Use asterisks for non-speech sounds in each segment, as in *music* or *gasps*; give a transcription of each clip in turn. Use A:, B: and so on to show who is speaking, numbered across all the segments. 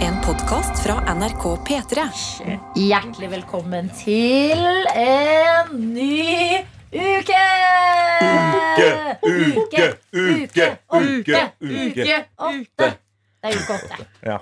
A: En podkast fra NRK P3.
B: Hjertelig velkommen til en ny uke!
C: uke, uke, uke, uke.
B: Åtte. Det er uke åtte.
C: Ja.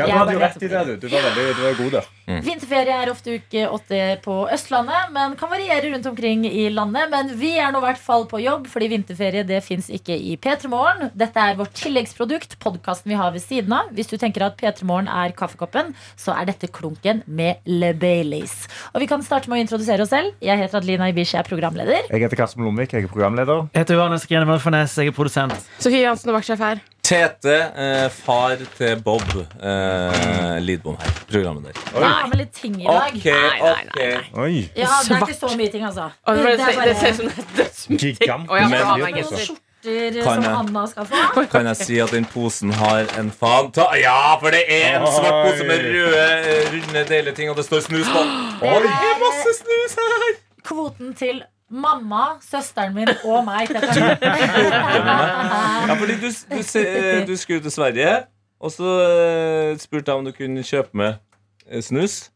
C: ja, du hadde jo rett i det, du. Du var, veldig, du var god der.
B: Vinterferie er ofte uke åtte på Østlandet, men kan variere rundt omkring i landet. Men vi er nå i hvert fall på jobb, fordi vinterferie det fins ikke i P3 Morgen. Dette er vårt tilleggsprodukt, podkasten vi har ved siden av. Hvis du tenker at P3 Morgen er kaffekoppen, så er dette klunken med Le Baileys. Og vi kan starte med å introdusere oss selv. Jeg heter Adelina Ibishi, jeg er programleder.
C: Jeg heter Karsten Blomvik, jeg er programleder.
D: Jeg heter Johannes Grene Mølfarnes, jeg er produsent.
E: Sofie Johansen og vaktsjef her.
F: Tete, eh, far til Bob eh, Lidbom her. Programmet der.
B: Jeg har med litt ting i dag.
F: Ok,
E: Nei, nei,
F: ok.
E: nei, nei.
C: Oi.
B: Ja, det er ikke så mye ting, altså.
E: Og det,
B: Det er
E: ser- det ser ut som det er dødsmye ting. Å, ja,
F: Men-
E: bra,
B: bare
E: Margit.
B: noen skjorter
F: Kan
B: som
F: jeg?
B: Anna skal få.
F: Kan jeg si at den posen har en fanta... Ja, for det er en svart pose med røde, eh, runde, deilige ting, og det står snus
E: *gasps*
F: på. Oi, det er masse snus her!
B: Kvoten til mamma, søsteren min og meg. Dette er-
E: *laughs*
F: Ja, fordi du, du, se- du skulle til Sverige, og så eh, spurte jeg om du kunne kjøpe med eh, snus.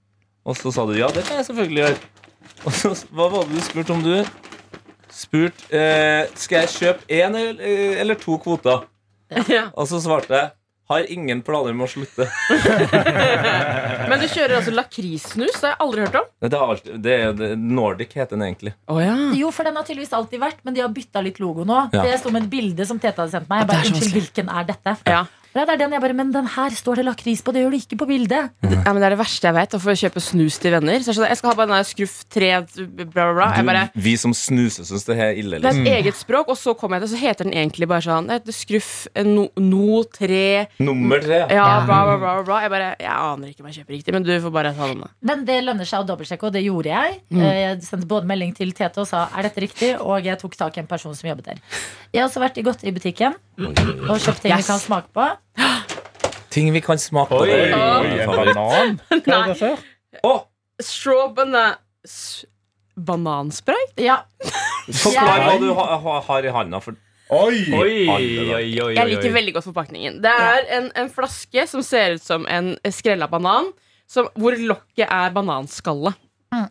F: Og så sa du ja, det kan jeg selvfølgelig gjøre. Og så hva var det du spurte om, du? Spurt eh, Skal jeg kjøpe én eller, eller to kvoter?
E: *laughs* Ja.
F: Og så svarte jeg har ingen planer om å slutte.
E: Men du kjører altså lakrissnus? Det har jeg aldri hørt om.
F: Nei, Det, har alltid, det, er- det, Nordic heter den egentlig.
B: Jo, for den har tydeligvis alltid vært, men de har bytta litt logo nå.
F: Ja.
B: Det sto med et bilde som Tete hadde sendt meg. Jeg bare,
E: det er så
B: unnskyld, hvilken er dette?
E: Ja.
B: Nei, det er den jeg bare, Men den her står det lakris på, det gjør det ikke på bildet.
E: Ja, men Det er det verste jeg vet, å få kjøpe snus til venner. Så jeg, skjønner, jeg skal ha bare den der skruff 3, bla, bla, bla. Jeg bare,
F: Du, vi som snuser, syns det her er ille.
E: det er
F: Liksom.
E: et
C: Mm.
E: eget språk, og så kommer jeg til Så heter den egentlig bare sånn det heter Skruff eh, no, no 3 ja,
F: Nummer tre. ja.
E: bla, bla, bla, bla. Jeg bare, jeg aner ikke om jeg kjøper riktig, men du får bare ta den. da.
B: Men det lønner seg å dobbeltsjekke, og det gjorde jeg.
E: Mm.
B: Eh, Jeg sendte både melding til Tete og sa er dette riktig, og jeg tok tak i en person som jobbet der. Jeg har også vært i godteributikken og kjøpt ting vi
E: Yes.
B: kan smake på.
F: Ting vi kan smake på.
C: Oi,
F: der.
C: oi, en banan. Hva er det for?
F: Å,
E: Straw bana- s- Bananspray?
B: Ja,
F: Forklar hva du ha, ha, har i handa. For
C: Oi.
E: Jeg liker veldig godt forpakningen. Det er en, en flaske som ser ut som en skrella banan, som, hvor lokket er bananskallet.
B: Mm.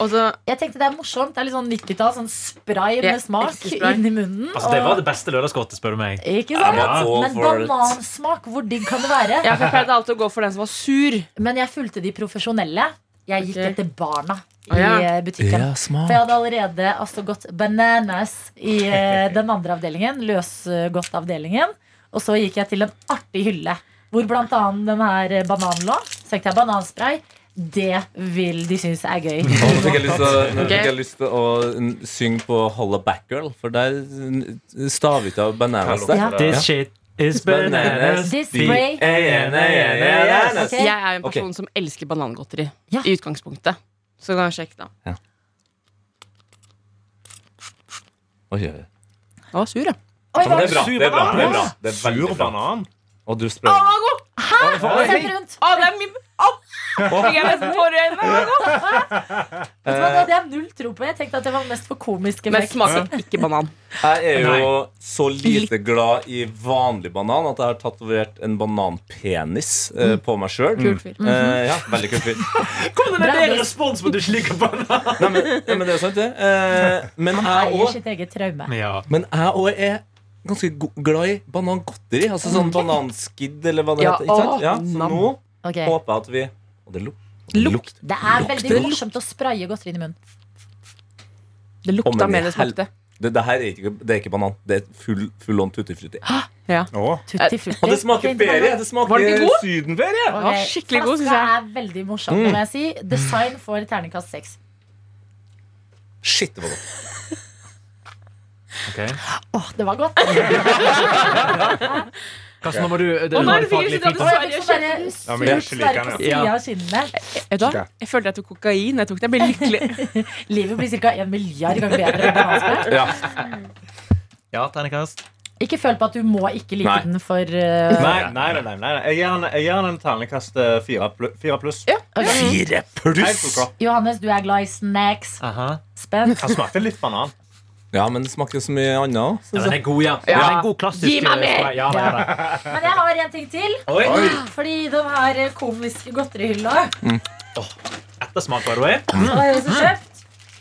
E: Og så
B: Jeg tenkte det er morsomt. Det er litt sånn 90-tall. Sånn spray
E: Ja,
B: med smak
E: ekte spray.
B: inn i munnen.
D: Altså, det var
B: og-
D: det beste lørdagsgodtet, spør du meg.
B: Ikke sant?
F: Ja, all
B: Men
F: for it.
B: banansmak, hvor digg kan det være?
E: Ja, for jeg pleide alltid å gå for den som var sur.
B: Men jeg fulgte de profesjonelle. Jeg gikk
E: Ok.
B: etter barna i
E: Å, ja.
B: eh, butikken.
F: smak.
B: For jeg hadde allerede altså gått bananas i eh, den andre avdelingen. Løsgodtavdelingen. Og så gikk jeg til en artig hylle hvor blant annet den her eh, bananen lå. Så tenkte jeg bananspray. Det vil de synes er gøy.
F: Nå fikk jeg lyst til, å- nå
E: Ok.
F: fikk jeg lyst til å n- synge på Holla Back Girl, for der n- staver ikke av bananas der.
B: Ja.
D: This shit is bananas.
B: This spray
F: Bananas.
B: Ok.
E: Jeg er jo en
F: Ok.
E: person som elsker banangodteri.
B: Ja.
E: I utgangspunktet. Så kan jeg sjekke, da.
F: Oi, oi, oi.
E: Jeg var sur, jeg.
B: Oi,
F: Men
B: var
F: Det er bra. Det er bra. Det er bra. Det er veldig
C: Sur
F: bra.
C: banan.
F: Og du spør
E: Å, den var god!
B: det Send rundt.
E: Å, det er min Å! Fikk jeg nesten tårer i øynene. Den var god!
B: Vet du hva, det hadde jeg null tro på. Jeg tenkte at det var mest for komisk
E: Men
B: effekt.
E: smaker ikke banan.
F: Jeg er jo så lite glad i vanlig banan at jeg har tatovert en bananpenis eh, på meg sjøl.
E: Kul fyr.
F: ja, veldig kul fyr.
D: Kom den
B: Bra,
D: der
B: det-
D: respons på at du ikke liker banan?
F: Nei, men, nei, men det er jo sant, det. Eh, men
B: Han
F: jeg
B: eier
F: òg
B: sitt eget traume.
D: Ja.
F: Men jeg òg er ganske go- glad i banangodteri. Altså sånn bananskidd eller hva det
E: Ja,
F: heter. Ikke sant?
E: å,
F: Ja, så
E: nam.
F: nå
B: Ok.
F: håper jeg at vi Og det luk- lukt.
B: Det er veldig
F: Lukter.
B: morsomt å spraye godteri inn i munnen.
E: Det
F: Å, men
E: lukta
F: i
E: mer enn det smakte.
F: Det, det her er ikke, det er ikke banan. Det er full, full on tuttifrutti.
C: Å,
B: Tutti frutti.
F: Og det smaker ferie!
E: Var
F: Det smaker
E: den ikke god?
F: sydenferie!
E: Den var skikkelig god, syns
B: Flaska
E: jeg.
B: er veldig morsom, det må jeg si. Design får terningkast seks.
F: Shit, det var godt.
D: Ok.
B: Åh, det var godt. Åh,
D: Karsten, nå må du det,
E: Å,
D: du
E: nei,
D: har
E: det fikk
D: faglig
E: jeg ikke
D: feedback.
B: jeg fikk sånn derre
C: Ja, men jeg
B: surt
C: liker
B: sperre på
C: den,
D: ja.
B: siden av kinnene.
E: Vet du hva? Jeg følte jeg tok kokain. Jeg tok det. Jeg ble *laughs* lykkelig.
B: Livet blir ca. 1 milliard ganger bedre. enn bananspray.
F: Ja.
D: Ja, terningkast.
B: Ikke føl på at du må ikke like
F: Nei.
B: den for eh,
C: Nei, nei, nei, nei, nei. Jeg gir han- Jeg gir han en terningkast eh, fire plu- fire pluss.
F: Fire
C: Helt ok.
B: Johannes, du er glad i snacks.
D: Aha.
B: Spent.
C: Han smakte litt banan.
F: Ja, men det smaker så mye annet òg.
D: Ja, den er god, ja.
E: Ja.
D: Den er en god klassisk
E: Gi meg mer!
D: eh, Ja, det er det.
B: Men jeg har en ting til.
D: Oi.
B: Fordi den her komiske godterihylla
D: Ettersmak, by the way.
B: har jeg også kjøpt.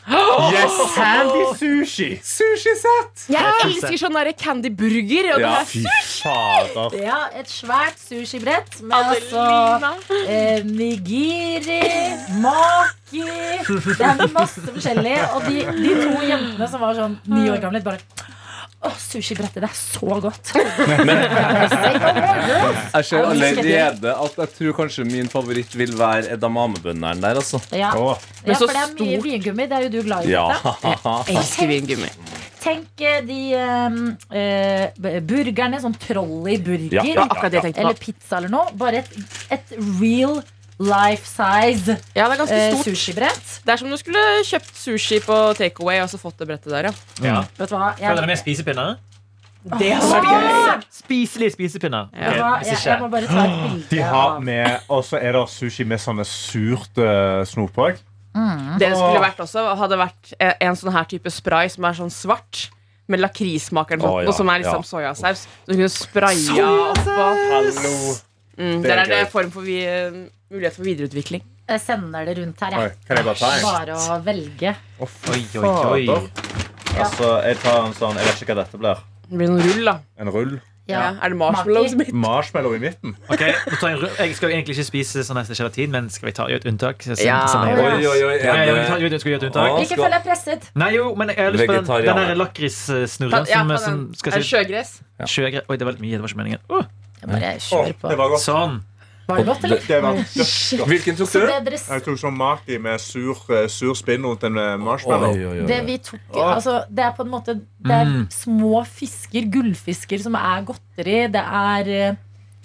C: Sandy sushi!
F: Sushisett!
E: Jeg elsker sånn der candy burger. Og
F: Ja,
E: det
F: fy
C: Fader.
B: Ja, et svært sushibrett med
E: her
B: altså
E: Adelina.
B: eh, nigiri, maki Det er masse forskjellig. Og de, de to jentene som var sånn ni år gamle, bare Å, sushibrettet, det er så godt.
F: Jeg ser
B: Ja, men skal
F: allerede at jeg tror kanskje min favoritt vil være edamamebønneren der, altså.
B: Ja, ja
C: Åh,
E: Men så
B: for det er mye
E: stort.
B: vingummi. Det er jo du glad i.
F: Ja.
B: Petter.
E: Elsker vingummi.
B: Tenk eh, de eh, eh, burgerne, sånn troll i burger.
F: Ja, ja,
E: Akkurat det jeg tenkte
B: Eller
E: på.
B: pizza eller noe. Bare et, et real life size
E: Ja, det er ganske
B: eh,
E: stort.
B: sushibrett.
E: Det er som om du skulle kjøpt sushi på takeaway og så fått det brettet der, ja.
D: Ja.
B: Vet du hva?
D: Følger
B: Jeg,
D: det med spisepinner?
E: Det er
B: så gøy!
D: Spiselige spisepinner.
E: Ja.
B: vet du
D: Ok,
B: hva?
D: hvis
B: jeg, jeg må
D: ikke.
B: bare ta et bilde.
C: de har
B: av-
C: med Og så er det sushi med sånne surt uh, snop òg.
E: Det det skulle vært også, hadde vært en- en sånn her type spray som er sånn svart. Med lakrismakeren på,
F: Å, ja,
E: og som er
F: ja.
E: liksom soyasaus. Som du kunne spraya oppå.
C: Hallo.
E: Mm,
C: Det
E: der
C: er
E: er det
C: gøy.
E: form for vi, eh, mulighet for videreutvikling.
B: Jeg sender det rundt her,
C: Oi,
B: jeg.
C: kan jeg bare ta en?
B: Bare å velge.
C: Å, fy
D: Oi, oi, oi.
C: fader. Altså, jeg tar en sånn Jeg vet ikke hva dette blir.
E: Det blir noen rull, da.
C: En rull.
E: Ja.
B: Ja.
E: Er det marshmallows?
B: Maki.
C: Marshmallow i midten.
D: Ok, nå tar jeg, en rød- jeg skal jo egentlig ikke spise sånn nesten gelatin, men skal vi ta gjøre et unntak? Så-
E: Ja.
D: sånn jeg-
F: *laughs* Oi, oi, oi.
D: Ja, ja, vi
F: Er
D: tar-
F: det
D: vi skal gjøre et unntak.
F: Ja.
B: Ikke føl deg presset.
D: Nei, jo, men jeg har lyst på den, den
F: Vegetarianer.
D: der lakrissnurren
E: Ja,
D: som, eh,
E: ta
D: som
E: den.
D: skal
E: Er det
D: si
E: sjøgress?
D: sjøgre... Oi, det var litt mye. Det var ikke meningen. Uh,
B: Jeg bare
C: Å,
B: kjør på.
C: det var godt.
D: sånn.
B: Var det godt, eller?
C: Det var dødsgodt.
F: Hvilken tok
B: Så
F: du?
B: Altså, det, dere, s-
C: Jeg tok sånn maki med sur, eh, sur spinn rundt en eh, marshmallow.
F: Oi, oi, oi.
B: det vi tok altså, Det er på en måte Det er
D: Mm.
B: små fisker, gullfisker, som er godteri. Det er eh,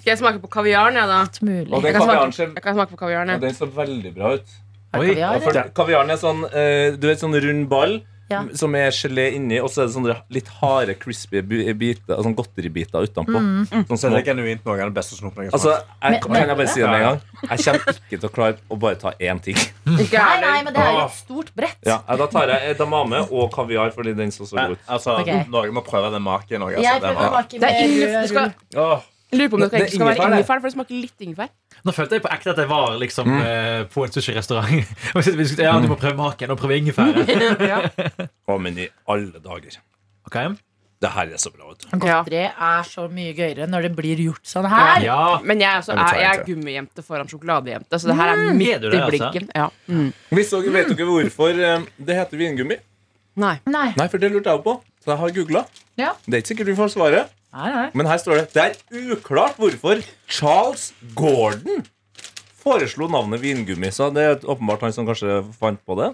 E: Skal jeg smake på kaviaren, jeg, da?
B: alt mulig.
F: Og den
E: kan
F: kaviaren ser,
E: Jeg kan smake på kaviaren.
F: ja,
E: jeg.
F: den ser veldig bra ut.
B: Er det
D: Oi.
B: kaviar,
F: Ja, for
B: eller?
F: kaviaren er sånn eh, Du vet sånn rund ball
B: Ja.
F: som er gelé inni, og så er det sånne litt harde, crispy bi- biter, sånn godteribiter utenpå.
C: Så
F: Sånn små.
C: det er genuint noe av den beste snopen jeg har
F: Altså,
C: smakt.
F: jeg,
B: Mm. Men-
F: kan jeg bare si det med en gang? Jeg kommer ikke til å klare å bare ta én ting.
E: Ikke jeg
B: Nei,
E: heller.
B: nei, men det er jo et stort brett.
F: *laughs* Ja, da tar jeg edamame og kaviar, fordi den så så
C: Men,
F: god ut.
C: altså,
B: Ok.
C: Norge må prøve den makien òg.
B: Jeg
C: Altså,
B: prøver
C: den
B: å
C: var-
B: bake
E: Det er ingefær.
B: med
E: Du skal,
F: Åh,
E: jeg lurer på om det skal,
F: Det- det
E: ikke
F: er
E: skal være
F: ingefær, det.
E: ingefær, for det smaker litt ingefær.
D: Nå følte jeg på ekte at jeg var liksom
F: Mm.
D: eh, på en sushirestaurant. *laughs* Og så diskuterte jeg, ja, du må prøve maken og prøve
E: Mm.
D: ingefæren.
E: *laughs* Ja.
F: å, men i alle dager.
D: Ok?
F: Det her er så bra, vet du.
E: Ja.
B: Godteri er så mye gøyere når det blir gjort sånn her.
D: Ja.
E: Men jeg, er også,
F: Jeg vil ta
E: er,
F: en
E: jeg er
F: til.
E: gummijente foran sjokoladejente, så det her er
D: Er
E: midt
D: du
E: i
D: det, altså?
E: blinken. Ja. Mm.
F: Vi så, vet dere hvorfor eh, det heter vingummi?
E: Nei.
B: Nei.
F: Nei, for det lurte jeg jo på. Så jeg har googla.
B: Ja.
F: Det er ikke sikkert vi får svaret.
B: Nei, nei.
F: Men her står det Det er uklart hvorfor Charles Gordon foreslo navnet vingummi. Så det er åpenbart han som kanskje fant på det.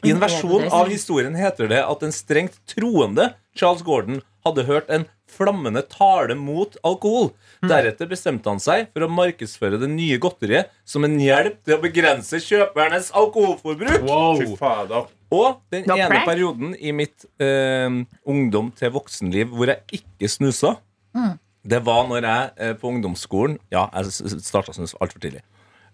F: I en versjon av historien heter det at en strengt troende Charles Gordon hadde hørt en flammende tale mot alkohol. Deretter bestemte han seg for å markedsføre det nye godteriet som en hjelp til å begrense kjøpernes alkoholforbruk.
C: Fy fader.
F: Og den
E: Da
F: ene
E: prank.
F: perioden i mitt eh, ungdom til voksenliv hvor jeg ikke snusa, det var når jeg eh, på ungdomsskolen Ja, jeg starta å snuse altfor tidlig.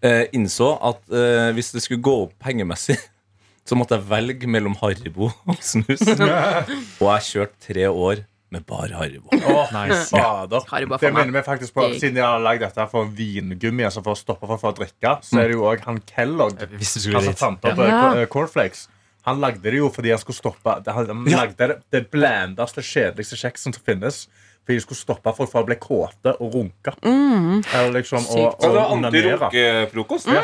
F: Eh, innså at eh, hvis det skulle gå opp pengemessig, *laughs* så måtte jeg velge mellom Haribo og *laughs* snus. og jeg kjørte tre år med bare Haribo.
D: Nice.
C: Fader.
E: Haribo er
C: Det
E: for meg.
C: minner meg faktisk på Siden jeg har lagd dette her for vingummi, altså for å stoppe folk fra å drikke, så er det jo òg han Kellogg,
D: Hvis du
C: han
D: skulle
F: Altså,
C: som
D: dit.
C: fant opp eh,
E: Ja.
C: cor- eh, cornflakes. Han lagde det jo fordi han skulle stoppe det- Han han
F: Ja.
C: lagde det, det blandeste, kjedeligste kjeksen som finnes. Fordi de skulle stoppe folk fra å bli kåte og runke.
B: Mm.
C: Eller liksom å å
F: Altså,
C: onanere.
F: antirunkefrokost.
C: Ja.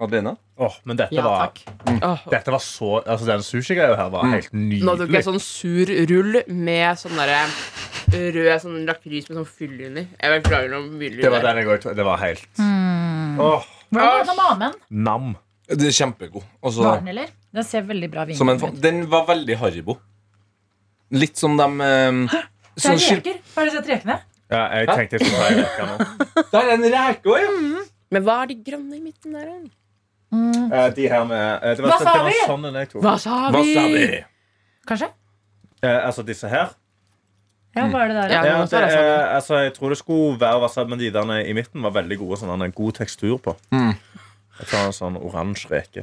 F: Adelina?
C: Åh, men dette
B: Ja,
C: var
B: takk.
E: Åh.
C: Dette var så Altså, den sushigreia her var helt
E: Mm. Nå tok jeg
C: nydelig.
E: sånn sur rull med sånn derre rød sånn lakris med sånn fyll under. Jeg beklager noe mulig.
C: Det var den jeg òg tok. Det var helt
B: Mm.
C: Åh,
B: Hvordan var det med amen?
C: nam.
F: Det er kjempegod. Altså-
B: Var den, eller? Den ser veldig bra
F: Som en,
B: vingummi
F: fa-
B: ut.
F: den var veldig Haribo. Litt som de eh,
B: Det
F: sånn
B: er
F: skil-
B: reker. Har du sett rekene?
C: Ja, jeg tenkte jeg skulle ta en rekke
B: *laughs*
C: nå.
F: Der er en reke òg, ja!
E: Men hva er de grønne i midten der? da?
C: Eh, De her med eh, Det var, det var
B: Wasabi!
C: sånn en jeg tok.
E: Wasabi!
F: Wasabi.
B: Kanskje?
C: Eh, altså disse her?
B: Ja, hva er det der? da?
E: Ja.
C: Ja,
E: men
C: det,
E: så er det
C: er, altså, jeg tror det skulle være wasabi, men de der i midten var veldig gode. Sånn, han har en god tekstur Mm. på. Jeg tar en sånn oransje reke.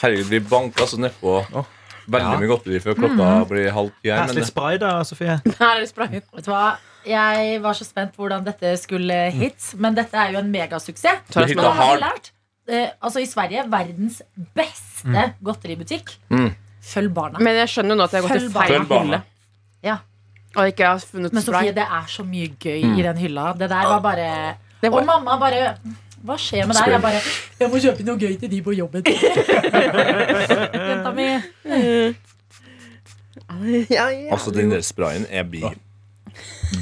F: Herregud, vi banka så nedpå. veldig
D: Ja.
F: mye godteri før klokka blir halv ti her.
D: Pass
F: Men eh,
D: litt spray, da, Sofie.
E: Her er det sprayet.
B: Vet du hva? Jeg var så spent på hvordan dette skulle hit, men dette er jo en megasuksess.
E: Tar
F: Det
E: jeg
F: er
E: som
B: Og da
E: en-
B: har vi
F: hard.
B: lært eh, Altså i Sverige, verdens beste godteributikk.
F: Mm.
B: Følg barna.
E: Men jeg skjønner jo nå at jeg har gått
B: Følg
E: i
B: barna.
E: feil
F: Følg barna.
E: hylle.
B: Ja.
E: Og ikke har funnet
B: Men Sofie,
E: spray.
B: det er så mye gøy i den hylla. Det der var bare
E: Det var-
B: Og mamma bare Hva skjer med deg? Jeg bare Jeg må kjøpe noe gøy til de på jobben. Jenta mi.
F: altså, den der sprayen er bi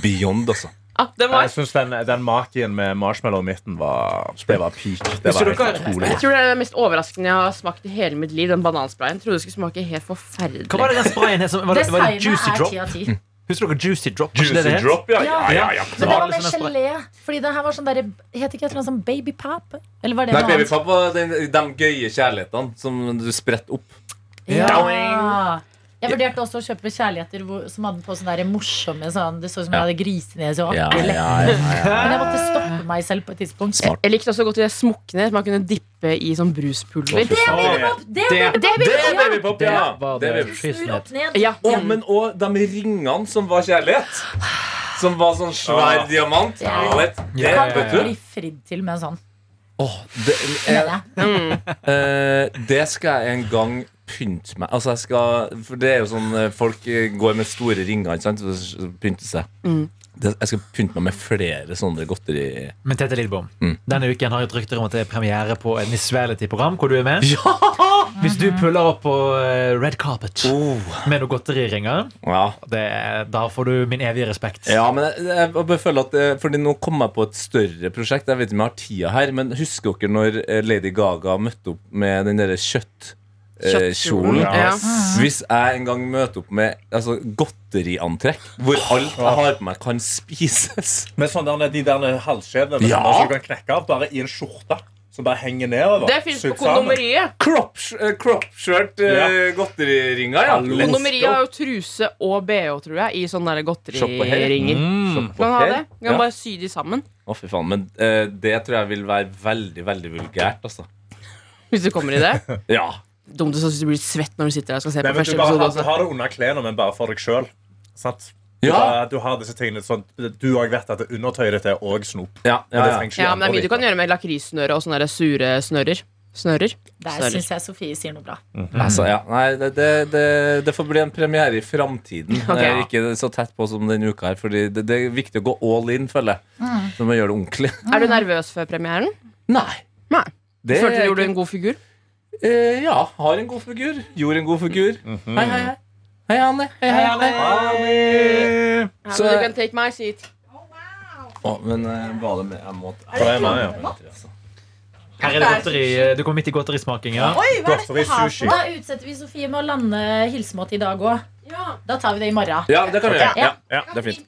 F: beyond, altså.
E: Ah, den var
C: Jeg synes den, den makien med marshmallow i midten var, det var peak. Det
D: Hvis
C: var
D: dere-
C: helt utrolig.
E: Jeg tror det er det mest overraskende jeg har smakt i hele mitt liv. Den banansprayen. Trodde det skulle smake helt forferdelig.
D: Hva var det den sprayen het? som- Var det, var det
B: Designet
D: Juicy
B: er
D: Drop?
B: ti av ti.
D: Husker dere Juicy Drop? Var ikke det
F: Juicy
D: det het?
F: drop, ja. ja, ja, ja.
B: Men det
D: var
B: var med
D: liksom en
B: gelé. Fordi det her var sånn derre Het ikke et eller annet sånn Baby Pap? Eller var det
F: Nei,
B: noe annet?
F: Babypap var den, de gøye kjærlighetene som du spretter opp.
B: Ja. Jeg vurderte også å kjøpe kjærligheter hvor, som hadde på sånne der morsomme sånn, Det så ut som jeg hadde grisenese og akkurat. Men jeg måtte stoppe meg selv på et tidspunkt.
E: Jeg- Jeg likte også godt det smukkene som man kunne dippe i sånn bruspulver.
B: Det er
D: Åh,
B: babypop! Det er babypop!
D: det-
E: Det
F: Det er babypop, ja!
D: Det var
F: Det Mm. er
D: det.
F: babypop.
D: Fy
B: Snur opp
D: snett.
B: ned.
E: Ja.
F: Å, men òg de ringene som var kjærlighet. Som var sånn svær
C: Ah.
F: diamant.
B: Ja.
F: Og et- Det,
D: Ja, ja,
F: vet
D: ja.
F: du
B: Bli fridd til med en sånn.
F: Åh, det,
B: mener
F: eh,
B: jeg.
F: *laughs* eh, det skal jeg en gang pynte meg Altså jeg skal For det er jo sånn eh, Folk eh, går med store ringer ikke sant, og s- pynter seg. Det, jeg skal pynte meg med flere sånne godteri.
D: Men Tete Lidbom,
F: Mm.
D: denne uken har jeg et rykte om at det er premiere på et Miss Reality-program hvor du er med.
F: Ja!
D: Hvis du puller opp på eh, red carpet
F: Oh,
D: med noen godteriringer,
F: ja.
D: det- da får du min evige respekt.
F: Ja, men jeg, jeg bare føler at eh, Fordi nå kom jeg på et større prosjekt. Jeg vet ikke om jeg har tida her, men husker dere når eh, Lady Gaga møtte opp med den derre kjøtt... eh,
E: Kjøttkjolen,
F: kjolen?
E: ja.
F: Hvis jeg en gang møter opp med altså, godteriantrekk hvor alt jeg har på meg, kan spises
C: Med sånn der, de der halskjedene
F: Ja.
C: som du kan knekke av bare i en skjorte. Som bare henger nedover.
E: Det fins på
C: Sydd sammen.
E: kondomeriet.
F: Crop-shirt,
C: eh,
F: godteriringer,
C: ja.
E: Kondomeriet har jo truse og bh, tror jeg, i sånne der
F: Shop og hell.
E: godteriringer.
D: Mm.
E: Kan ha det? Kan
F: Ja.
E: bare sy de sammen.
F: Å, fy faen. Men eh, det tror jeg vil være veldig, veldig vulgært, altså.
E: Hvis du kommer i det.
F: Ja.
E: Dumt hvis du blir svett når du sitter der og skal se
C: Nei,
E: på
C: men du
E: første
C: bare
E: episode.
C: har, sånn
E: også.
C: har det under klærne, men bare for deg sjøl. Du,
F: Ja.
C: har- du har disse tingene sånn Du òg vet at undertøyet ditt er òg snop.
F: Ja,
C: Og
F: ja,
C: det
F: ja.
C: trengs ikke
E: Ja, men det er
C: andre
E: mye du kan
C: vite.
E: gjøre med lakrissnøre og sånne der sure snører. Snører.
B: Der syns jeg Sofie sier noe bra.
F: Altså, ja. Nei, det, det, det, det får bli en premiere
E: *laughs*
F: i framtiden.
E: Ok.
F: Eh, Ikke så tett på som denne uka her. Fordi det, det er viktig å gå all in, føler jeg. Så må gjøre det ordentlig.
E: Er du nervøs før premieren?
F: Nei.
E: Nei.
F: Det
E: Følte du
F: er
E: gjorde
F: ikke-
E: en god figur?
F: Eh, ja, har en god figur. Gjorde en god figur.
C: Mhm.
F: Hei, hei, hei. Hei, Anne. Hei, hei, Anne.
E: Ja,
F: Så-
E: men du kan take my seat.
F: Å, men eh, var det med Jeg må
C: For det er meg, ja.
F: altså.
D: Her er det godteri. Du kommer midt i godterismakinga.
C: Godteri, sushi.
B: Da utsetter vi Sofie med å lande hilsemåte i dag òg. Da tar vi det i morgen.
F: Ja, det kan vi gjøre.
B: Ja.
F: Ja, ja, det er fint.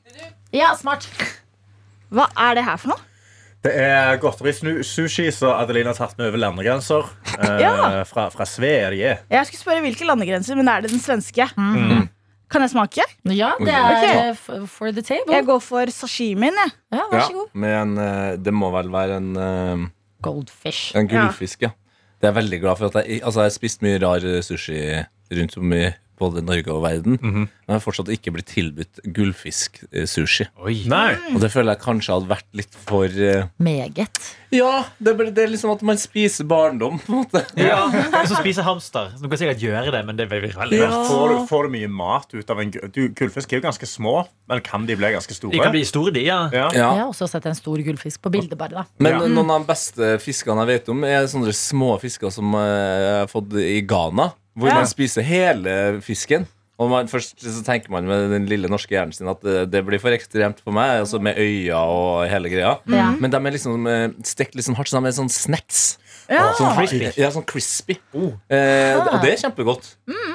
B: Ja, smart.
G: Hva er det her for noe?
C: Det er godteri, snu- sushi, så Adelina har tatt med over landegrenser. Eh,
G: Ja.
C: fra, fra Sverige.
G: Jeg skulle spørre hvilke landegrenser, men er det den svenske? Kan jeg smake?
B: Ja, det er eh, f- for the table.
G: Jeg går for sashimien. jeg.
B: Ja,
F: Ja,
B: vær så god.
F: med en, eh, det må vel være en, eh,
B: Goldfish.
F: en gullfisk, ja. Det er jeg veldig glad for. At jeg, altså, jeg har spist mye rar sushi rundt om i både Norge og verden. Men jeg har fortsatt ikke blitt tilbudt gullfisk-sushi.
D: Oi.
C: Nei.
F: Og det føler jeg kanskje hadde vært litt for eh,
B: Meget.
F: Ja, det, ble- det er liksom at man spiser barndom, på en måte.
D: Og så spiser hamster. Du kan sikkert gjøre det, men det blir veldig
C: Men
D: rart.
C: Får, du, får du mye mat ut av en gu- du, Gullfisk er jo ganske små, men kan de bli ganske
D: De kan
C: store?
D: bli store, de, ja.
C: Ja.
F: Ja.
B: Jeg har også sett en stor gullfisk på bildet, bare. da
F: Men
C: Ja.
F: noen av de beste fiskene jeg vet om, er sånne små fisker som eh, jeg har fått i Ghana. Hvor man spiser hele fisken. Og man, først så tenker man med den lille norske hjernen sin at eh, det blir for ekstremt for meg. Altså med øyne og hele greia.
B: Ja.
F: Men de er liksom eh, stekt litt sånn hardt, så de er sånn snacks.
G: Ja.
F: Sånn
D: Crispy.
F: Ja, sånn crispy. Eh, og det er kjempegodt.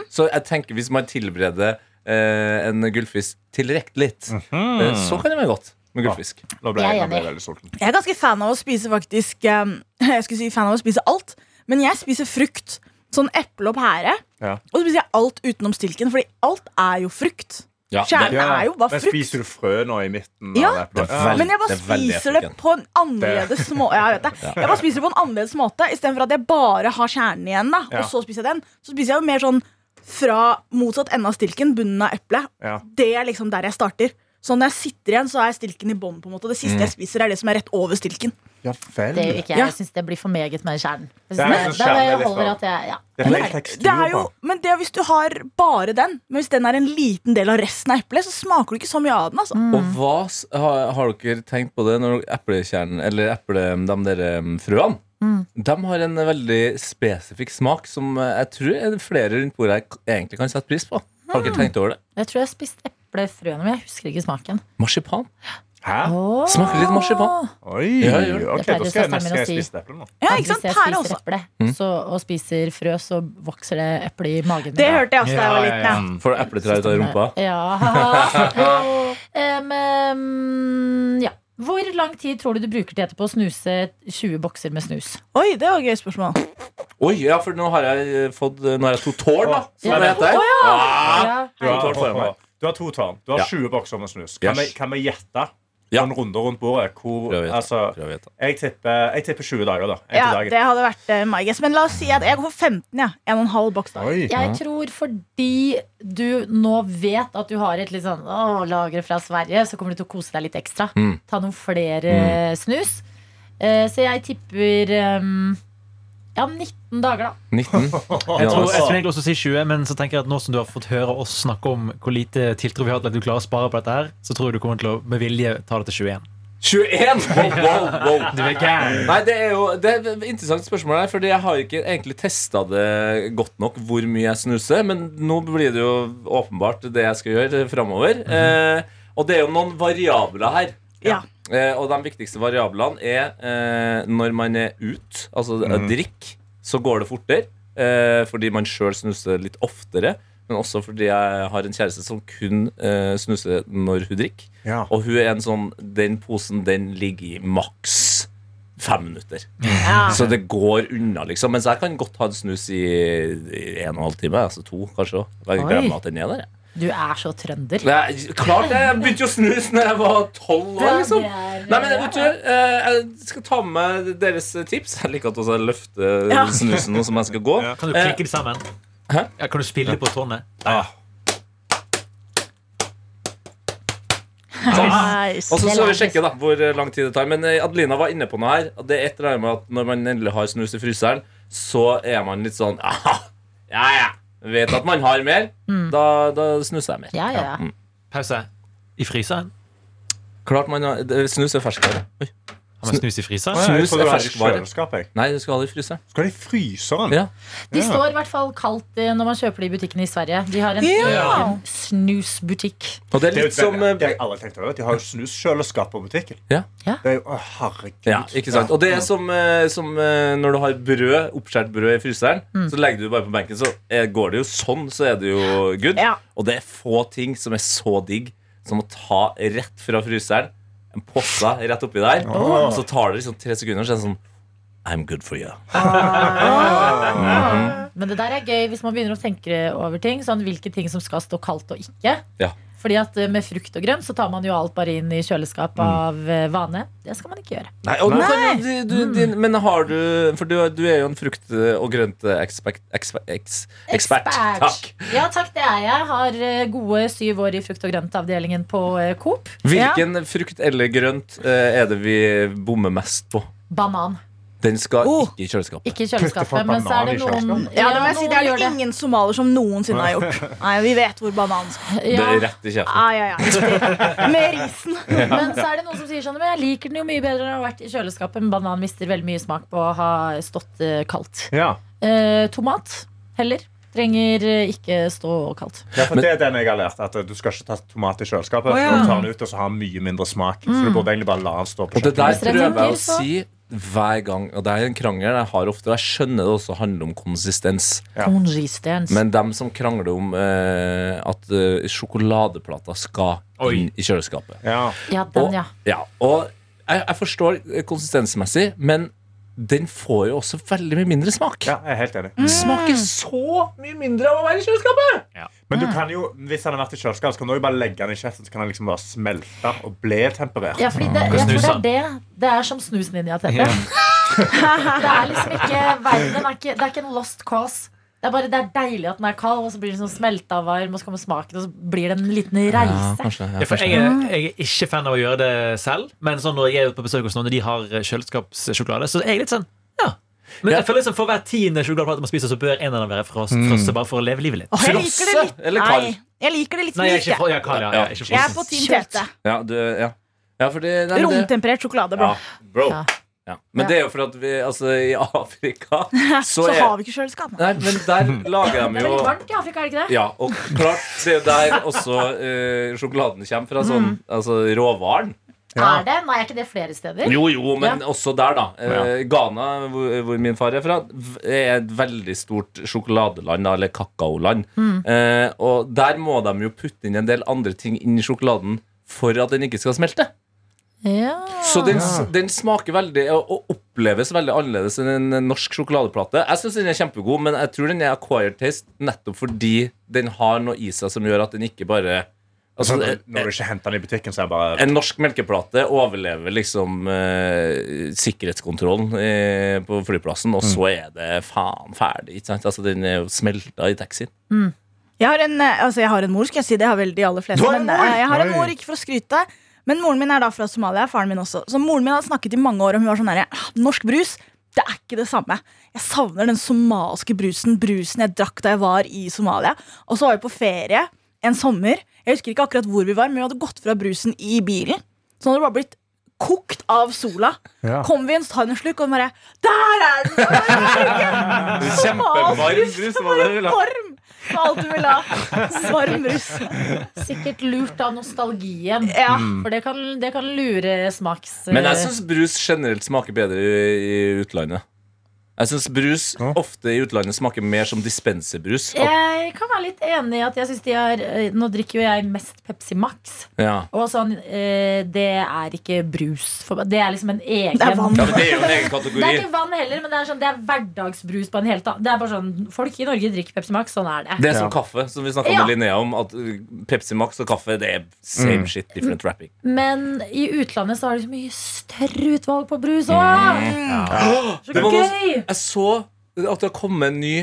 F: Så jeg tenker hvis man tilbereder eh, en gullfisk tilrekkelig, eh, så kan det være godt med gullfisk.
C: Mm. Nå ble
B: Jeg
C: jeg,
B: er
C: nå ble jeg
B: enig.
C: veldig sulten.
G: Jeg er ganske fan av å spise faktisk eh, *laughs* Jeg skulle si fan av å spise alt, men jeg spiser frukt. Sånn eple og pære.
C: Ja.
G: Og så spiser jeg alt utenom stilken, fordi alt er jo frukt.
F: Ja,
G: Kjernen er jo bare
C: Men
G: frukt.
C: spiser du frø nå i midten?
G: Ja.
C: av eplet?
F: Det er veldig-
G: Men jeg bare
F: det er veldig
G: spiser det
F: African.
G: på en annerledes må- ja, jeg vet det. Jeg bare spiser det på en annerledes måte Istedenfor at jeg bare har kjernen igjen, da,
C: Ja.
G: og så spiser jeg den. Så spiser jeg jo mer sånn fra motsatt ende av stilken, bunnen av eplet.
F: Ja.
G: Det er liksom der jeg starter. Så når jeg sitter igjen, så er stilken i bånn. på en måte. Det siste jeg spiser, er det som er rett over stilken.
C: Ja vel.
B: Det gjør ikke jeg.
G: Ja.
B: Jeg syns det blir for meget med kjernen. Jeg
F: Det er
B: synes
F: liksom
B: det- Da
F: kjernen er litt
B: holder
F: bra.
B: at jeg, ja.
C: Det er
G: Nei,
C: mer tekstur
G: Det er jo,
C: på.
G: men det er hvis du har bare den, men hvis den er en liten del av resten av eplet, så smaker du ikke så mye av den. altså.
B: Mm.
F: Og hva s- har, har dere tenkt på det når eplekjernen, eller eple, de der um, frøene
B: Mm.
F: De har en veldig spesifikk smak som eh, jeg tror er det flere rundt bordet her k- egentlig kan sette pris på. Har
B: Mm.
F: dere tenkt over det?
B: Jeg tror jeg har spist eplefrøene, men jeg husker ikke smaken.
F: Marsipan.
C: Hæ?
B: Åh.
F: Smaker litt marsipan.
C: Oi.
F: Ja, ja.
C: Ok,
B: Det pleier
C: da skal jeg
B: søsteren min
C: nesten
B: å si.
C: spise eple nå.
G: Ja,
B: At
G: ikke sant?
B: Hvis jeg
G: Pære
B: spiser
G: også.
B: eple så, og spiser frø, så vokser det eple i magen min.
G: Det hørte jeg også da jeg var liten. ja.
F: Får du epletre ut av rumpa?
B: Ja. *laughs* Em, em, ja. Hvor lang tid tror du du bruker til etterpå å snuse 20 bokser med snus?
G: Oi, det var et gøy spørsmål.
F: Oi, ja, for nå har jeg eh, fått eh, Nå har jeg to tårn, da. Som
B: Ja.
F: det heter.
B: Ja.
C: Du har,
F: tolv foran meg.
C: du har to tårn. Du har
F: Ja.
C: 20 bokser med snus. Kan,
F: Yes.
C: vi, kan vi gjette
F: Ja.
C: noen runder rundt bordet? Hvor,
F: Prøv å gjette.
C: altså,
F: Tror jeg vet det.
C: jeg, tipper, jeg tipper 20 dager, da. En
G: Ja,
C: til
G: det
C: dagen.
G: hadde vært eh, my guess. Men la oss si at jeg går for 15. Ja. En og en halv boks. da.
C: Oi.
B: Jeg tror fordi du nå vet at du har et litt sånn «Åh, lagre fra Sverige, så kommer du til å kose deg litt ekstra.
F: Mm.
B: Ta noen flere eh, snus. Eh, så jeg tipper em, ja, 19 dager, da.
F: 19.
D: Jeg tror, jeg
F: *laughs*
D: tror
F: Ja, altså.
D: egentlig også å si 20, men så tenker jeg at nå som du har fått høre oss snakke om hvor lite tiltro vi har til at du klarer å spare på dette, her så tror jeg du kommer til å med vilje ta det til 21.
F: 21! Wow, wow, wow.
D: Du er gæren.
F: Nei, det er jo det er et interessant spørsmål her, Fordi jeg har ikke egentlig testa det godt nok hvor mye jeg snuser. Men nå blir det jo åpenbart det jeg skal gjøre framover. eh, og det er jo noen variabler her.
G: Ja.
F: Eh, og de viktigste variablene er eh, når man er ut, altså eh, drikk, så går det fortere. Eh, fordi man sjøl snuser litt oftere. Men også fordi jeg har en kjæreste som kun eh, snuser når hun drikker.
C: Ja.
F: Og hun er en sånn Den posen den ligger i maks fem minutter. Så det går unna, liksom. Mens jeg kan godt ha en snus i, i en og en halv time. Altså to, kanskje òg. Jeg
B: Oi.
F: glemmer at den er der. jeg.
B: Du er så trønder.
F: Nei, klart det! Jeg begynte jo å snuse når jeg var tolv år, liksom. Nei, men vet du, eh, jeg skal ta med meg deres tips. Jeg liker at også jeg løfter
G: Ja.
F: snusen nå som jeg skal gå.
D: Kan du klikke det sammen?
F: Eh, Hæ?
D: Ja, kan du spille på tårnet?
G: Nice.
F: Og så
B: Det
F: skal vi
B: læres.
F: sjekke da, hvor eh, lang tid det tar. Men eh, Adelina var inne på noe her. og Det er et eller annet med at Når man endelig har snus i fryseren, så er man litt sånn «Ah, Ja, ja. Vet at man har mer. Da, da snuser jeg mer.
B: Mm. Ja, ja, ja.
F: Mm.
D: Pause. I fryseren?
F: Klart man har, det- Snus er ferskvare. Oi.
D: Har man snus i fryseren?
C: Nei, jeg
F: snus
C: trodde
F: er
C: det var i
F: ferskvare.
C: kjøleskapet, jeg.
F: Nei, du skal ha det i fryseren.
C: Skal de i fryseren?
F: Ja.
B: De
C: Ja.
B: står i hvert fall kaldt eh, når man kjøper det i butikken i Sverige. De har en
G: Ja.
B: egen snusbutikk.
F: Og det
C: Det
F: er
C: er
F: litt som
C: jo et- det har
F: eh,
C: jeg aldri tenkt over. De har jo snuskjøleskap på butikken.
F: Ja.
B: Ja.
C: Det er jo, å, herregud.
F: ja, ikke sant? Og det er som, eh, som eh, når du har brød, oppskåret brød i fryseren, så legger du det bare på benken, så eh, går det jo sånn, så er det jo good.
G: Ja.
F: Og det er få ting som er så digg som å ta rett fra fryseren, en posse rett oppi der,
C: Åh.
F: og så tar det liksom tre sekunder, og så er det sånn I'm good for you. *laughs* Mm.
B: Men det der er gøy hvis man begynner å tenke over ting. Sånn hvilke ting som skal stå kaldt og ikke.
F: Ja.
B: Fordi at eh, med frukt og grønt så tar man jo alt bare inn i kjøleskap
F: Mm.
B: av eh, vane. Det skal man ikke gjøre.
F: Nei, Mm. og nå kan jo du, du, din, men har du For du, du er jo en frukt- og grøntekspert. Ekspert. Takk.
B: Ja, takk, det er jeg. Har eh, gode syv år i frukt- og grøntavdelingen på eh, Coop.
F: Hvilken frukt eller grønt eh, er det vi bommer mest på?
B: Banan.
F: Den skal
G: Oh.
F: ikke i kjøleskapet.
B: Ikke i
C: Putter folk
B: kjøleskapet, men så er det
C: banan i
B: noen
G: Ja, det må jeg si. Det
B: noen
G: er det
B: gjør
G: ingen somalier som noensinne har gjort. Nei, Vi vet hvor bananen skal.
F: Det
B: Ja.
F: er rett i kjeften.
G: Ai, ai, ai. Med risen.
B: Men så er det noen som sier sånn Men jeg liker den jo mye bedre når den har vært i kjøleskapet. Men banan mister veldig mye smak på å ha stått eh, kaldt.
C: Ja.
B: Eh, tomat heller. Trenger eh, ikke stå kaldt.
C: Ja, for det er den jeg har lært. At eh, Du skal ikke ta tomat i kjøleskapet.
G: Å, ja.
C: For da tar den ut, og så har den mye mindre smak. Så du burde egentlig bare la den stå på
F: Og det der
B: Hvis dere
F: prøver jeg å
B: tenker, så-
F: si hver gang. Og det er en krangel jeg har ofte. Og jeg skjønner det også handler om konsistens.
C: Ja.
B: Konsisterns.
F: Men dem som krangler om eh, at eh, sjokoladeplater skal
D: Oi.
F: inn i kjøleskapet.
C: Ja.
B: Ja,
F: Og,
B: den, ja.
F: ja, og jeg, jeg forstår eh, konsistensmessig, men den får jo også veldig mye mindre smak.
C: ja, jeg er helt enig.
F: Den smaker så mye mindre av å være i kjøleskapet! Mm.
C: Men du kan jo, hvis han har vært i kjøleskapet, så kan du jo bare legge den i kjeften. Så kan den liksom bare smelte og bli temperert.
B: Ja, fordi det,
F: Mm.
B: jeg tror det er det. Det er som *laughs* snusen din i Tete. Det er liksom ikke verden. er ikke, det er ikke en lost cause. Det er bare det er deilig at den er kald, og så blir den sånn smelta varm, og så kommer smaken, og så blir det en liten reise.
F: kanskje, ja,
D: Ja, for jeg, er, jeg er ikke fan av å gjøre det selv, men sånn når jeg er ute på besøk hos noen og de har eh, kjøleskapssjokolade, så er jeg litt sånn ja. Men jeg føler liksom for hver tiende sjokoladeplate man spiser, så bør en av dem være fross,
F: Mm.
D: frosse, bare for å leve livet litt.
G: Åh, jeg liker det litt.
F: eller kald?
G: Nei, jeg liker det litt
D: Nei, jeg er
G: myke.
D: ikke, fro- ja, Karl, ja, jeg er ikke
G: Jeg er på
D: frossen.
G: team tete.
F: Ja, du, ja. ja for det,
G: eh,
F: nei, men det-
G: Romtemperert sjokolade, bro.
F: Ja, bro.
B: Ja.
F: Ja. Men det er jo for at vi, altså, i Afrika
G: *laughs*
F: så,
G: Så
F: er
G: har vi ikke kjøleskap.
F: Nei, men der lager
B: Det
F: de
B: er
F: jo
B: veldig varmt i Afrika, er det ikke det?
F: ja, og klart, det er jo der også eh, sjokoladen kommer fra. Sånn, Altså råvaren.
B: Er det? Nei, er ikke det flere steder?
F: Jo, jo, men
B: Ja.
F: også der, da. Eh, Ghana, hvor, hvor min far er fra, v- er et veldig stort sjokoladeland, da, eller kakaoland. Eh, og der må de jo putte inn en del andre ting inn i sjokoladen for at den ikke skal smelte.
B: Ja.
F: Så den,
C: Ah.
F: den smaker veldig og og oppleves veldig annerledes enn en en norsk sjokoladeplate. Jeg syns den er kjempegod, men jeg tror den er acquired taste nettopp fordi den har noe i seg som gjør at den ikke bare Altså,
C: Altså, når du ikke henter den i butikken, så er det bare
F: en norsk melkeplate overlever liksom eh, sikkerhetskontrollen eh, på flyplassen, og så er det faen ferdig. Ikke sant? Altså, den er jo smelta i taxien.
G: Jeg har, en, eh, altså jeg har en mor, skal jeg si. Det har vel de aller fleste.
F: Du har en
G: Men eh, jeg har en
C: Oi.
G: mor, ikke for å skryte. Men moren min er da fra Somalia. Faren min også. Så moren min har snakket i mange år om hun var sånn herre Norsk brus, det er ikke det samme. Jeg savner den somalske brusen. Brusen jeg drakk da jeg var i Somalia. Og så var vi på ferie en sommer. Jeg husker ikke akkurat hvor vi var, men vi hadde gått fra brusen i bilen. Så hadde det bare blitt kokt av sola.
C: Ja.
G: Kom vi inn, så tar hun en slurk, og hun bare Der er den! Somalsk brus!
F: brus,
G: Varm! Det var alt du ville ha. Varm brus.
B: Sikkert lurt av nostalgien.
G: Ja.
B: For det kan, det kan lure smaks...
F: Mm. Men jeg syns brus generelt smaker bedre i, i utlandet. Jeg syns brus
C: Ja.
F: ofte i utlandet smaker mer som dispenserbrus.
B: Jeg kan være litt enig i at jeg synes de har eh, Nå drikker jo jeg mest Pepsi Max.
F: Ja.
B: Og sånn, eh, det er ikke brus for meg. Det er liksom en egen
G: *laughs* Det er vann.
F: ja, men Det er jo en egen
B: Det er
F: kategori.
B: ikke vann heller, men det er, sånn, det er hverdagsbrus på en helt annen Det er bare sånn, Folk i Norge drikker Pepsi Max, sånn er det.
F: Det er som kaffe, som vi snakka
B: Ja.
F: med Linnea om. At uh, Pepsi Max og kaffe det er same shit, different wrapping.
B: Men i utlandet så har de så mye større utvalg på brus òg!
G: Mm.
B: Så
F: Det var noe-
B: gøy!
F: Jeg så at det har kommet en ny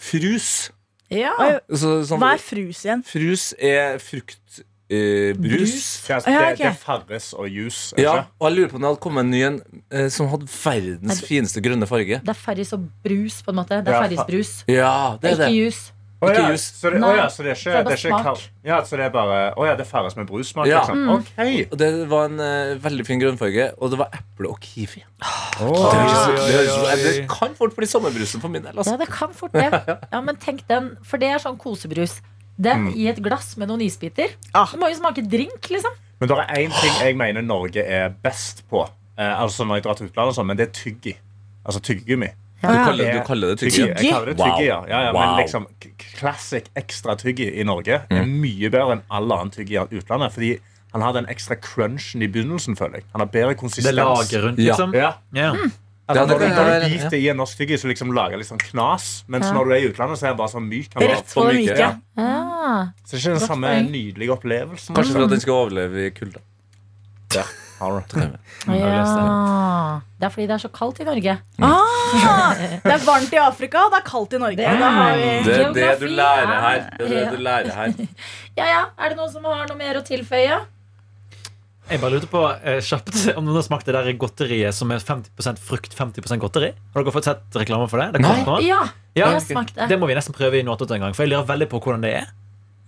F: frus.
B: Ja.
F: Så, sånn,
G: Hva er frus igjen?
F: Frus er fruktbrus.
C: Ja, altså,
G: Ja,
C: det,
G: ok.
C: det er Farris og juice. er det
F: ja,
C: ikke?
F: og jeg lurer på om det hadde kommet en ny en eh, som hadde verdens fineste grønne farge.
B: Det er Farris og brus, på en måte. Det er
C: Ja,
B: Farris-brus.
F: Ja, det er
B: Ikke
F: det.
B: juice.
C: Å
F: Ikke
C: ja,
F: juice.
C: Så det,
B: Nei,
C: å ja, så det er
B: så
C: ikke,
B: er det
C: det er ikke
B: smak.
C: kal- Ja, så det er bare Å ja, det er Farris med brussmak,
F: Ja.
C: liksom. OK.
F: Og det var en eh, veldig fin grønnfarge, og det var eple og kiwi.
C: Åh.
F: Det, høres- det, høres- det kan fort bli sommerbrusen for min del.
B: Ja,
F: Altså.
B: det kan fort det. Ja, men tenk den, for det er sånn kosebrus. Den i et glass med noen isbiter.
G: Ah.
B: Det må jo smake drink, liksom.
C: Men det er én ting jeg mener Norge er best på. Eh, altså når jeg drar til utlandet og sånn, men det er tyggi. Altså tyggegummi.
F: Du, kaller, du kaller det tygge.
C: Jeg kaller det tyggi, ja. ja, ja
F: Wow.
C: Men liksom k- classic ekstra tyggi i Norge er
F: Mm.
C: mye bedre enn all annen tyggi i utlandet. Fordi han har den ekstra crunchen i begynnelsen, føler jeg. Han har bedre konsistens.
D: Det laget rundt,
F: Ja. Mm.
D: liksom.
C: Ja.
D: Ja.
C: Altså,
F: Ja,
C: når du,
F: det-
C: når
F: ja,
C: du
F: ja,
C: biter i en norsk tyggi, så liksom lager det litt sånn knas. Mens
B: Ja.
C: når du er i utlandet, så er han bare sånn myk. Han bare,
G: Rett på det myke.
F: Ja.
B: Ah.
C: så det er ikke den
B: Godt
C: samme
B: poeng.
C: nydelige opplevelsen.
F: Kanskje for at den skal overleve i kulda.
C: Har du-
B: Ja. Det er fordi det er så kaldt i Norge.
G: Ah, det er varmt i Afrika, og det er kaldt i Norge. Da har vi
F: Det er det du
B: Geografi
F: lærer
B: er-
F: her. Det er det du lærer her.
B: Ja, ja. Er det noen som har noe mer å tilføye?
D: Jeg bare lurte på eh, kjapt om noen har smakt det der godteriet som er 50 frukt, 50 godteri. Har dere fått sett reklame for det? det
F: Nei.
D: kommer
G: Ah.
D: nå.
B: Ja,
D: Ja,
B: jeg har smakt det.
D: Det må vi nesten prøve i Nåtete en gang, for jeg lurer veldig på hvordan det er.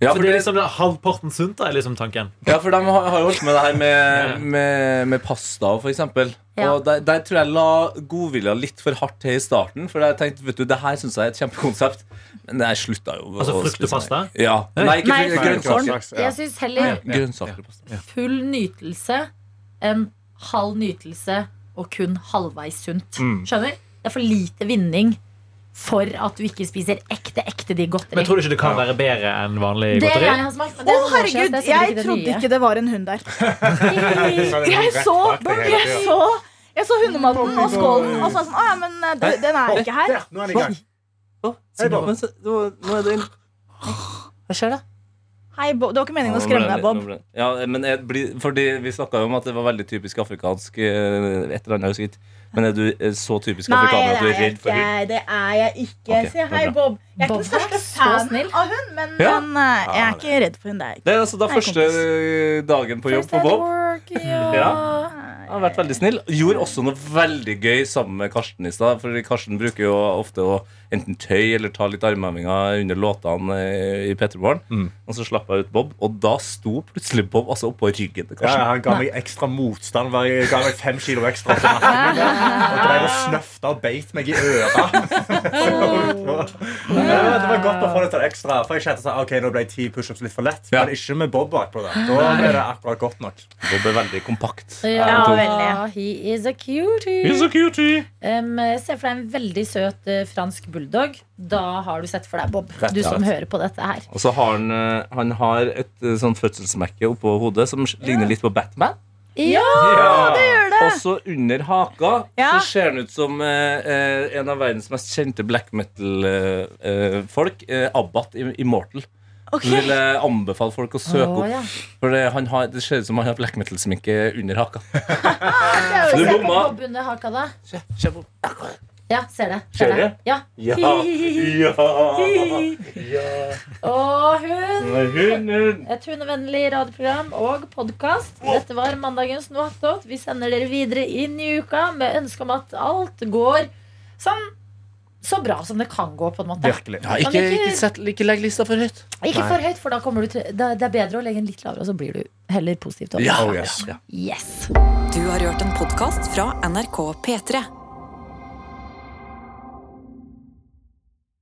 F: Ja,
D: For det er liksom det er Halvparten sunt, da, er liksom tanken.
F: Ja, for de har har jo holdt med det her med, med, med pasta, for eksempel.
B: Ja.
F: Og der, der tror jeg la godvilja litt for hardt til i starten. For jeg tenkte, vet du, det her syns jeg er et kjempekonsept. Men jeg slutta jo. å-
D: Altså frukt og
F: å spise
D: pasta?
F: det. Ja.
D: Nei.
F: Nei, ikke
G: Nei,
F: frukt-
C: Nei,
F: grønnsaker.
C: hva slags- ja.
B: Jeg syns
G: Ah,
B: heller
F: Grønnsaker og pasta.
B: full nytelse enn halv nytelse og kun halvveis sunt.
C: Mm.
B: Skjønner? Det er for lite vinning for at du ikke spiser ekte, ekte de
D: Men
B: godteri.
D: tror du ikke det kan være bedre enn vanlig
B: Det jeg
D: godteri?
B: har smakt. men
G: Å,
B: det er noen år siden,
G: herregud,
B: så det er
G: jeg
B: sikkert
G: trodde ikke det var en
C: *laughs*
G: hund der.
B: det nye.
C: Så det er
G: Jeg
C: rett
G: så,
C: bak deg hele
G: jeg
C: tiden.
G: så, jeg så hundematen og skålen, og så var jeg sånn Å ja, men eh, du, den er ikke her.
C: Der, nå er den i gang. Hei, Bob.
F: Men så- Nå nå er det inn.
G: Hei, Bob. Det var ikke meningen å skremme deg, Bob.
F: Ja, men jeg blir, fordi vi snakka jo om at det var veldig typisk afrikansk eh, et eller annet. jeg husker ikke. Men er du eh, så typisk
H: Nei,
F: afrikaner at
H: det
F: du
H: er
F: er
H: jeg
F: redd for
H: ikke.
F: hund?
H: Det er jeg ikke.
F: Ok, det
H: Si
F: er
H: hei,
F: bra.
H: Bob. Jeg er
B: Bob
H: ikke den største
B: er så
H: fan
B: snill.
H: av hund, men
F: Ja.
H: han, eh, jeg er ikke redd for hund. Det er jeg ikke.
F: Det er altså da
H: Hei,
F: første eh, dagen på jobb for Bob. *laughs* Ja. Han har vært veldig snill. Gjorde også noe veldig gøy sammen med Karsten i stad. For Karsten bruker jo ofte å enten tøye eller ta litt armhevinger under låtene eh, i Petter Morgen. Og så slapp jeg ut Bob, og da sto plutselig Bob altså oppå ryggen til
C: Ja,
F: Karsten.
C: han ga meg ekstra motstand. hver- Han ga meg fem kilo ekstra. til nakken. Og drev og snøfta og beit meg i øret. Men Det var godt å få litt sånn ekstra. For jeg kjente sånn, ok, nå ble ti pushups litt for lett.
F: Ja.
C: Men ikke med Bob bakpå. Da Da ble det akkurat godt nok.
F: Bob er veldig kompakt. Eh,
H: Ja,
B: Ja,
H: veldig.
B: Ah, he is a cutie.
F: He's so cutie.
B: Um, se for deg en veldig søt eh, fransk bulldog. Da har du sett for deg Bob.
F: Rett
B: Du
F: og
B: som
F: slett.
B: hører på dette her.
F: Og så har han, eh, han har et eh, sånn fødselsmerke oppå hodet som ligner litt på Batman.
B: Ja,
F: Og så under haka
G: Ja.
F: så ser han ut som eh, eh, en av verdens mest kjente black metal-folk. Eh, Abbat i Immortal.
G: Ok.
F: Så vil jeg anbefale folk å søke
B: Å,
F: opp.
B: ja.
F: For det, han har, det ser ut som han har black metal-sminke under haka.
B: Få
F: Du
B: se på
F: bomma.
B: Bob under haka, da.
F: Kjør på.
B: Ja, ser det.
F: Ser
B: det.
F: det?
B: Ja.
F: Ja. Ja.
B: Og hun.
F: Hunden.
B: Et hundevennlig radioprogram og podkast. Dette var mandagens Noatot. Vi sender dere videre inn i uka med ønske om at alt går sånn så bra som det kan gå, på en måte.
C: Virkelig.
F: Ja,
B: Kan vi
F: ikke,
B: ikke-
F: ikke, sett, ikke legg lista for høyt.
B: Ikke for høyt, for da kommer du til da- Det er bedre å legge den litt lavere, og så blir du
F: Oh,
B: heller positivt over.
C: Oh, yes.
B: Yes.
A: Du har hørt en podkast fra NRK P3.